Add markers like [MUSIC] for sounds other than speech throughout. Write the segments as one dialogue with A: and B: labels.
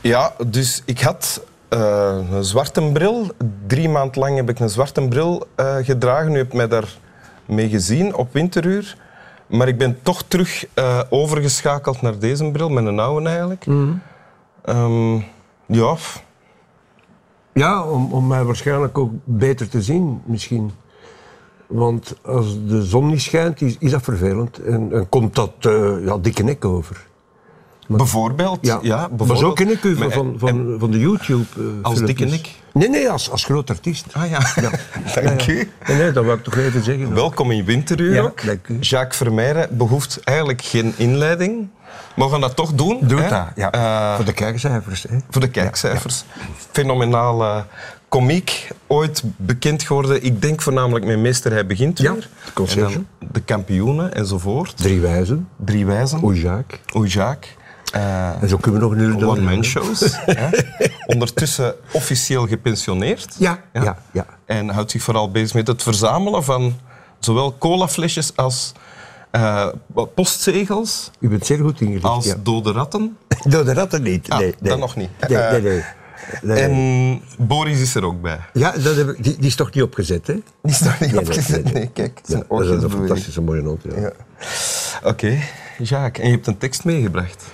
A: Ja, dus ik had eh, een zwarte bril. Drie maand lang heb ik een zwarte bril eh, gedragen. U hebt mij daar mee gezien op winteruur. Maar ik ben toch terug eh, overgeschakeld naar deze bril, met een oude eigenlijk.
B: Mhm.
A: Ehm, ja, f-
B: Ja, om, om mij waarschijnlijk ook beter te zien, misschien. Want als de zon niet schijnt, is, is dat vervelend. En, en komt dat eh, ja, dikke nek over.
A: bijvoorbeeld. Ja, bijvoorbeeld.
B: Maar zo ken ik u van,
A: Maar- eh,
B: van, van, van de YouTube. eh,
A: Als dikke
B: filmpjes. Nee, nee, als, als groot artiest.
A: Ah ja, [LAUGHS] dank
B: Ja, ja.
A: u.
B: Nee, nee, dat wil ik toch even zeggen.
A: Welkom in Winteruur
B: Ja,
A: ook.
B: dank u.
A: Jacques Vermeijden behoeft eigenlijk geen inleiding. Maar we gaan dat toch doen.
B: Doe
A: hè?
B: het daar. Ja.
A: Eh,
B: Voor de kijkcijfers. Hè.
A: voor de kijkcijfers. Fenomenale komiek, ooit bekend geworden. Ik denk voornamelijk met Meester Hij Begint
B: Ja,
A: weer.
B: het conciërge.
A: En dan de kampioenen enzovoort.
B: Drie wijzen.
A: Drie wijzen.
B: Oei, Jacques.
A: Oei, Jacques. Eh,
B: En zo kunnen we nog een uur door.
A: One-man shows. [LAUGHS] hè. Ondertussen officieel gepensioneerd.
B: Ja, ja, ja.
A: En houdt zich vooral bezig met het verzamelen van zowel colaflesjes als eh, postzegels,
B: U bent zeer goed ingelicht.
A: als
B: ja.
A: dode ratten.
B: Door de ratten niet.
A: Ah,
B: nee, nee.
A: dan nog niet. Eh,
B: Nee, nee, nee. Nee.
A: En Boris is er ook bij.
B: Ja, dat heb ik, die, die is toch niet opgezet, hè?
A: Die is daar niet
B: nee,
A: opgezet. Nee,
B: nee, nee.
A: kijk,
B: Ja,
A: zijn
B: dat
A: oortjes
B: is een
A: bewegen.
B: fantastische mooie noot. Ja, ja.
A: Ja. Oké, Jacques, en je hebt een tekst meegebracht.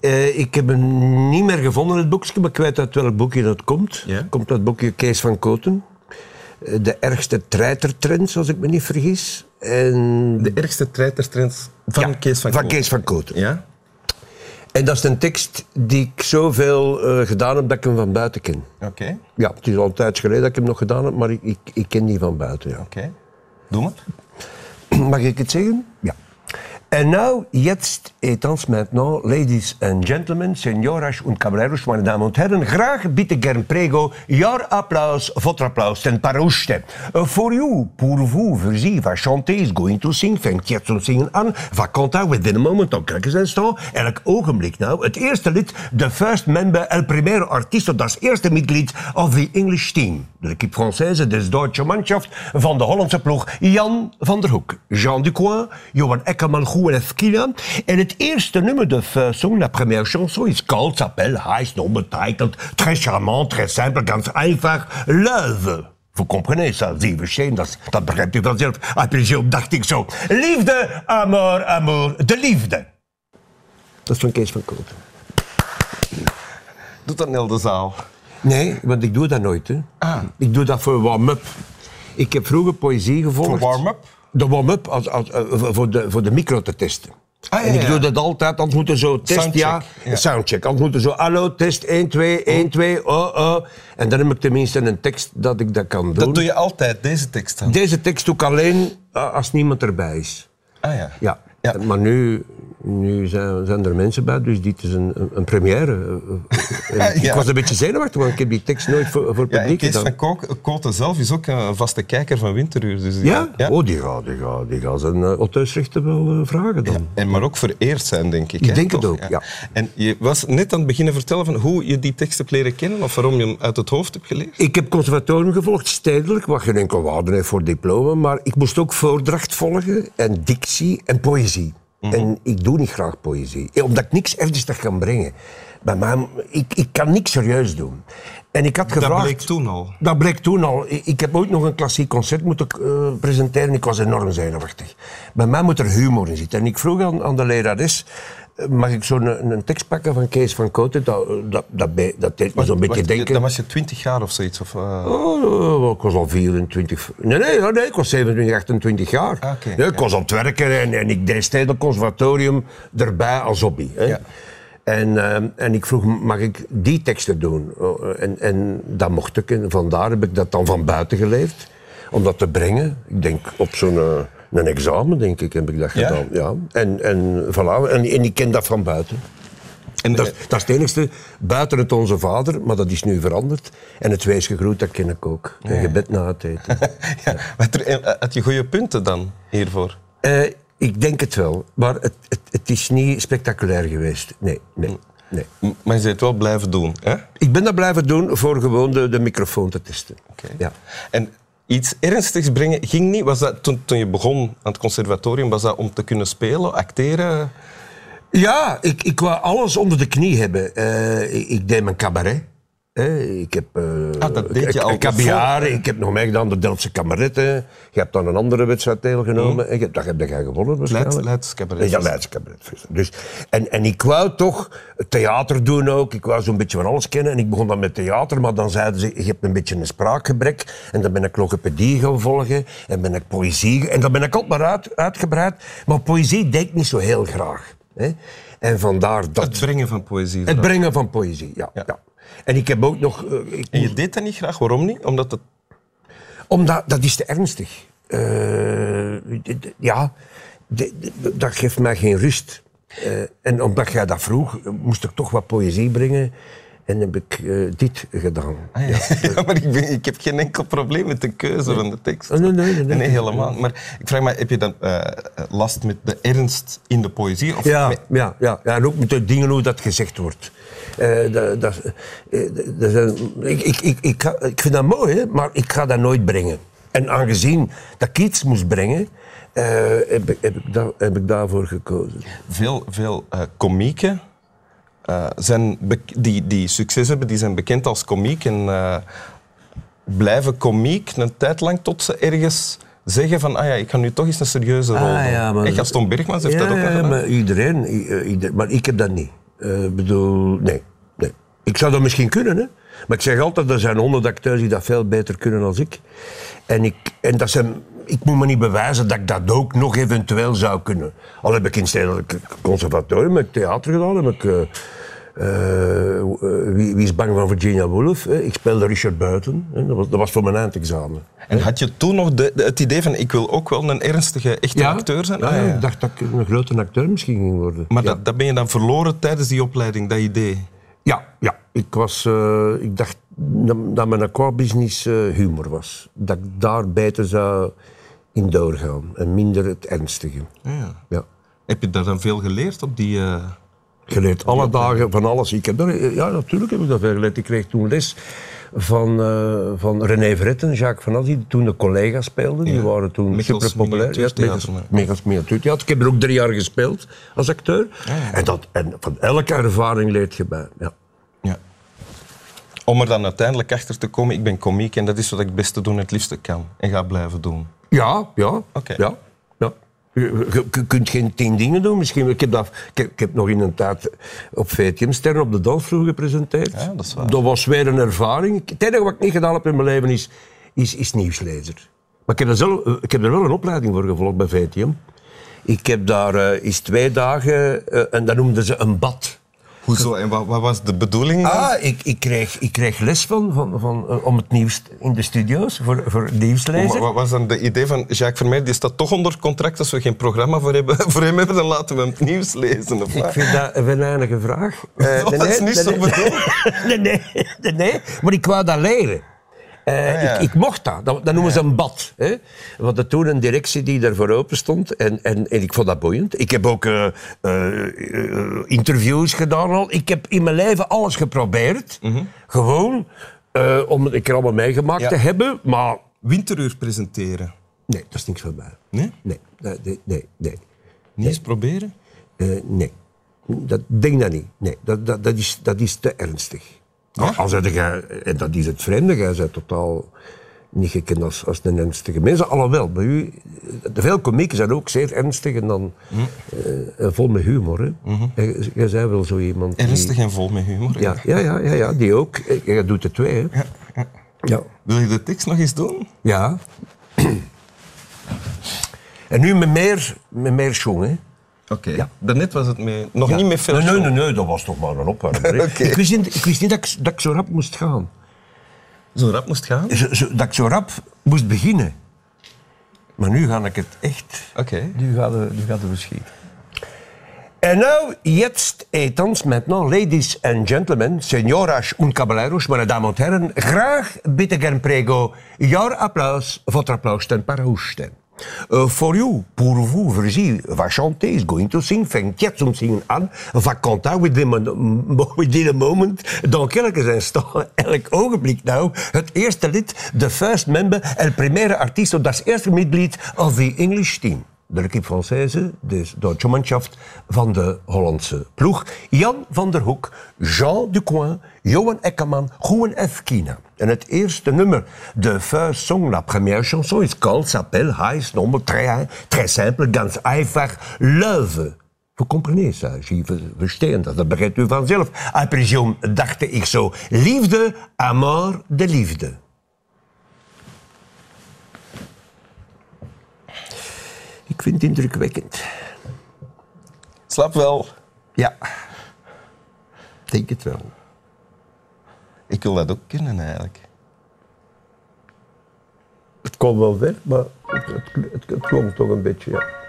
B: eh, ik heb hem niet meer gevonden, het boekje, maar ik weet uit welk boekje dat komt.
A: Ja?
B: Het Komt uit het boekje Kees van Koten. Eh, De ergste treitertrends, als ik me niet vergis. En
A: De ergste treitertrends van
B: Ja,
A: Kees van
B: van
A: Koot.
B: Kees van Koten.
A: Ja?
B: En dat is een tekst die ik zoveel eh, gedaan heb dat ik hem van buiten ken.
A: Oké, oké.
B: Ja, het is al een tijd geleden dat ik hem nog gedaan heb, maar ik, ik, ik ken die van buiten. Ja.
A: Doe maar.
B: [CLEARS THROAT] Mag ik het zeggen? Ja. En nou, jetzt, etans maintenant, nou, ladies and gentlemen, señoras und caballeros, meine Damen und Herren, graag bitte gern prego, jouw applaus, votre applaus, ten parouste. For you, pour vous, voor sie, va chanter, is going to sing, fängt jetzt zum Singen an, va cantar within a moment, dan krijgen ze een stand. Elk ogenblik nou. Het eerste lid, the first member, el primer artiesto, dat is eerste midlid of the English team. De équipe française des Deutsche Mannschaft van de Hollandse ploeg Jan van der Hoek, Jean Ducoin, Johan Ekkermangoe en Efkila. En het eerste nummer, de first song, la première chanson, is called, s'appelle, heist, onbetitled, très charmant, très simple, ganz einfach, Love. Vous comprenez ça, zeven shame, dat, is- dat begrijpt u vanzelf. Appelgeop dacht ik zo. Liefde, amour, amour, de liefde. Dat is van Kees van Koten.
A: Doe dat in heel de zaal.
B: Nee, want ik doe dat nooit. Hè.
A: Ah.
B: Ik doe dat voor warm-up. Ik heb vroeger poëzie gevolgd.
A: Voor warm-up?
B: De warm-up als, als, eh, voor, de, voor de micro te testen.
A: Ah, ja,
B: en ik
A: ja.
B: doe dat altijd, anders moeten zo test,
A: Soundcheck,
B: ja,
A: ja.
B: Soundcheck. Anders moeten zo, hallo, test, 1, 2, 1, 2, oh, oh. En dan heb ik tenminste een tekst dat ik dat kan doen.
A: Dat doe je altijd, deze tekst dan.
B: Deze tekst doe ik alleen eh, als niemand erbij is.
A: Ah ja.
B: Ja.
A: Ja.
B: Maar nu, nu zijn, zijn er mensen bij, dus dit is een, een, een
A: [LAUGHS]
B: première.
A: Ja,
B: Ik
A: ja.
B: was een beetje zenuwachtig, want ik heb die tekst nooit voor, voor
A: Ja, en
B: publiek
A: Kees
B: gedaan.
A: van Kook- Koten zelf is ook een vaste kijker van Winteruur. Dus
B: Ja? Oh, die gaat, die gaat, die gaat zijn uh, auteursrechten wel eh, vragen dan.
A: En maar ook vereerd zijn, denk ik.
B: Ik
A: hè,
B: denk het
A: toch?
B: ook, ja.
A: En je was net aan het beginnen vertellen van hoe je die tekst hebt leren kennen of waarom je hem uit het hoofd hebt geleerd.
B: Ik heb conservatorium gevolgd, stedelijk, wat geen enkel waarde heeft voor diploma. Maar ik moest ook voordracht volgen en dictie en poëzie.
A: Mhm.
B: En ik doe niet graag poëzie, eh, omdat ik niks ernstig kan brengen. Bij mij, ik, ik kan niks serieus doen. En ik had
A: Dat
B: gevraagd...
A: bleek toen al.
B: Dat bleek toen al. I- Ik heb ooit nog een klassiek concert moeten eh, presenteren. Ik was enorm zenuwachtig. Bij mij moet er humor in zitten. En ik vroeg aan, aan de lerares... eh, Mag ik zo'n een, een tekst pakken van Kees van Kooten? Dat, dat, dat, be- dat deed me zo'n beetje
A: Wacht,
B: denken.
A: Dan was je twintig jaar of zoiets. Of, eh,
B: Oh, ik was al 24. Nee, nee, ja, nee ik was 27, 28 jaar.
A: Ah, oké,
B: Nee, ik
A: ja.
B: was aan het werken en, en ik deed stedelijk conservatorium erbij als hobby. Hè.
A: Ja.
B: En, ehm, en ik vroeg, mag ik die teksten doen? Oh, En, en dat mocht ik. En vandaar heb ik dat dan van buiten geleefd. Om dat te brengen. Ik denk op zo'n eh, een examen, denk ik, heb ik dat
A: Ja?
B: gedaan. Ja. En, en, voilà. en, en ik ken dat van buiten.
A: en,
B: Dat, is- dat is het enigste, buiten het Onze Vader, maar dat is nu veranderd. En het Wijs Gegroet, dat ken ik ook. Een gebed na het eten.
A: [LAUGHS] ja, maar ter- en, eh, had je goede punten dan hiervoor?
B: Eh, ik denk het wel, maar het, het, het is niet spectaculair geweest. Nee, nee, nee.
A: M- Maar je bent het wel blijven doen. Hè?
B: Ik ben dat blijven doen voor gewoon de, de microfoon te testen.
A: Oké.
B: Ja.
A: En iets ernstigs brengen ging niet. Was dat, toen, toen je begon aan het conservatorium, was dat om te kunnen spelen, acteren?
B: Ja, ik, ik wou alles onder de knie hebben. Eh, ik, ik deed mijn cabaret. Eh, ik heb eh
A: Ah, dat deed je
B: k-
A: al
B: caviar, ik heb nog meegedaan de Delftse kameretten. Je hebt dan een andere wedstrijd
A: Mhm.
B: deelgenomen. En je, dat heb jij gewonnen waarschijnlijk.
A: Leids Cabaret.
B: Ja, Leids Cabaret. Dus, en, en ik wou toch theater doen ook. Ik wou zo'n beetje van alles kennen. En ik begon dan met theater, maar dan zeiden ze, je hebt een beetje een spraakgebrek. En dan ben ik logopedie gaan volgen. En ben ik poëzie... En dan ben ik ook maar uit, uitgebreid. Maar poëzie deed ik niet zo heel graag. Hè? En vandaar dat...
A: Het brengen van poëzie.
B: Het brengen van poëzie, ja. ja. En ik heb ook nog... eh, ik
A: En je deed dat niet graag. Waarom niet? Omdat het...
B: Omdat dat is te ernstig. Eh, d- d- ja, d- d- dat geeft mij geen rust. Eh, en omdat jij dat vroeg, moest ik toch wat poëzie brengen. En heb ik eh, dit gedaan.
A: Ah, [LAUGHS] ja. maar ik, ben, ik heb geen enkel probleem met de keuze van de tekst.
B: Oh, nee, nee, nee, nee.
A: helemaal. Maar ik vraag me, heb je dan eh, last met de ernst in de poëzie? Of
B: Ja,
A: met-
B: ja, ja, ja, en ook met de dingen hoe dat gezegd wordt. Eh, dat, dat, eh, dat zijn- ik, ik, ik, ik, ga- ik vind dat mooi, hè, maar ik ga dat nooit brengen. En aangezien dat ik iets moest brengen, eh, heb, ik- heb, ik daar, heb ik daarvoor gekozen.
A: veel, veel eh, komieken eh, zijn bek- die, die succes hebben, die zijn bekend als komiek en eh, blijven komiek een tijd lang tot ze ergens zeggen van ah ja, ik ga nu toch eens een serieuze rol doen.
B: Ah, ja, maar-
A: Eh, Gaston Bergmans heeft dat ook nog
B: ja,
A: gedaan.
B: maar iedereen, i- eh, ieder- maar ik heb dat niet. Eh, Ik bedoel, nee, nee. Ik zou dat misschien kunnen, hè. Maar ik zeg altijd, er zijn honderd acteurs die dat veel beter kunnen dan ik. En, ik, en dat zijn, ik moet me niet bewijzen dat ik dat ook nog eventueel zou kunnen. Al heb ik in het Stedelijk Conservatorium, heb ik theater gedaan, heb ik... eh, eh, wie, wie is bang van Virginia Woolf? hè. Ik speelde Richard Buiten. hè. Dat was, dat was voor mijn eindexamen.
A: En had je toen nog de, de- het idee van ik wil ook wel een ernstige, echte acteur zijn?
B: Ja,
A: Ah, ja.
B: Ik dacht dat ik een grote acteur misschien ging worden.
A: Maar
B: Ja.
A: dat, dat ben je dan verloren tijdens die opleiding, dat idee.
B: Ja, ja. Ik, was, eh, ik dacht dat, dat mijn core business eh, humor was. Dat ik daar beter zou in doorgaan en minder het ernstige.
A: Ja.
B: Ja.
A: Heb je daar dan veel geleerd op die... eh,
B: Geleerd alle dagen van alles. Ik heb daar, eh, ja, natuurlijk heb ik dat veel geleerd. Ik kreeg toen les van, eh, van René Vretten, Jacques Van As, die toen de collega's speelden. Die
A: Ja.
B: waren toen
A: Michels
B: super populair.
A: Miniatuurtheater, ja.
B: Megas Miniatuurtheater. Ik heb er ook drie jaar gespeeld als acteur. En, dat, en van elke ervaring leert je bij. Ja.
A: Ja. Om er dan uiteindelijk achter te komen, ik ben komiek en dat is wat ik het beste doen en het liefste kan. En ga blijven doen.
B: Ja, ja.
A: Oké.
B: Ja, ja. Je, je- je kunt geen tien dingen doen misschien. Ik heb, dat, ik heb, ik heb nog in een tijd op VTM Sterren op de dansvloer gepresenteerd.
A: Ja, dat is waar.
B: was weer een ervaring. Het enige wat ik niet gedaan heb in mijn leven is, is, is nieuwslezer. Maar ik heb, er zelf, ik heb er wel een opleiding voor gevolgd bij VTM. Ik heb daar eh, is twee dagen, eh, en dat noemden ze een bad.
A: Hoezo? En wat, wat was de bedoeling? dan?
B: Ah, ik, ik, kreeg, ik kreeg les van, van, van, eh, om het nieuws in de studio's, voor, voor
A: Wa-
B: nieuwslezer.
A: Wat was dan de idee van Jacques Vermeer? Die staat toch onder contract. Als we geen programma voor, hebben, [LAUGHS] voor hem hebben, dan laten we hem het nieuws lezen. Of
B: Ik
A: wat?
B: vind dat een venijnige vraag. Eh,
A: Oh, [LAUGHS] dat is niet zo bedoeld.
B: [LAUGHS] nee, nee, nee, nee, maar ik wou dat leren. Eh,
A: Ah, ja.
B: ik, ik mocht dat. Dat, dat noemen ze een bad. Hè? Want er toen een directie die daarvoor open stond. En, en, en ik vond dat boeiend. Ik heb ook eh, eh, eh, interviews gedaan al. Ik heb in mijn leven alles geprobeerd. Gewoon eh, om het een keer allemaal meegemaakt
A: Mhm. Ja.
B: te hebben. Maar
A: Winteruur presenteren.
B: nee, dat is niks voor mij.
A: Nee?
B: Nee, dat- nee, nee. nee.
A: Niet eens proberen?
B: Eh, nee, dat, denk dat niet. Nee, dat, dat, dat, is, dat is te ernstig. Als Al zei jij, en dat is het vreemde, jij bent totaal niet gekend als, als een ernstige mens. Alhoewel, bij u, eh, veel komieken zijn ook zeer ernstig en dan eh, en vol met humor. Hè? Eh, Jij- Jij bent wel zo iemand. die-
A: Ernstig en vol met humor.
B: ja, ja, ja, ja, ja, die ook. Eh, Jij doet de twee, hè? Ja. ja.
A: Wil je de tekst nog eens doen?
B: ja. [CLEARS THROAT] en nu met meer, met meer jong, hè?
A: Oké. Daarnet was het mee. Nog niet met veel.
B: Nee, nee,
A: show.
B: nee, nee, dat was toch maar een [LAUGHS] opwarmer. hè.
A: Oké.
B: ik, wist niet, ik wist niet dat ik, dat ik zo rap moest gaan.
A: Zo rap moest gaan? Oké.
B: Zo- zo- dat ik zo rap moest beginnen. Maar nu ga ik het echt. Nu gaat het, nu gaat het verschieten. En nou, jetzt, etans, maintenant, ladies and gentlemen, señoras und caballeros, meine Damen und Herren, graag bitte gern prego, jouw applaus, votre applaus ten parahusten. Uh, for you, pour vous, voor sie, va chanter, is going to sing, fängt jetzt zum Singen an, va cantar within, [LAUGHS] a- within a moment, dan elke zijn staan, [LAUGHS] elk ogenblik nou, het eerste lid, the first member, el primera artiesto, das eerste midlied of the English team. de l'équipe Française, dus Deutsche Mannschaft van de Hollandse ploeg. Jan van der Hoek, Jean Ducoin, Johan Eckerman, Gouen F. Kina. En het eerste nummer, de first song, la première chanson, is called, s'appelle, High Nummer, très, très simple, ganz einfach, Love. We comprenez ça, je verstaan dat, dat begrijpt u vanzelf. À présent, dacht ik zo, liefde, amor, de liefde. Ik vind het indrukwekkend.
A: Slaap wel.
B: Ja, ik denk het wel.
A: Ik wil dat ook kunnen eigenlijk.
B: Het kwam wel weg, maar het, het, het, het klonk toch een beetje, ja.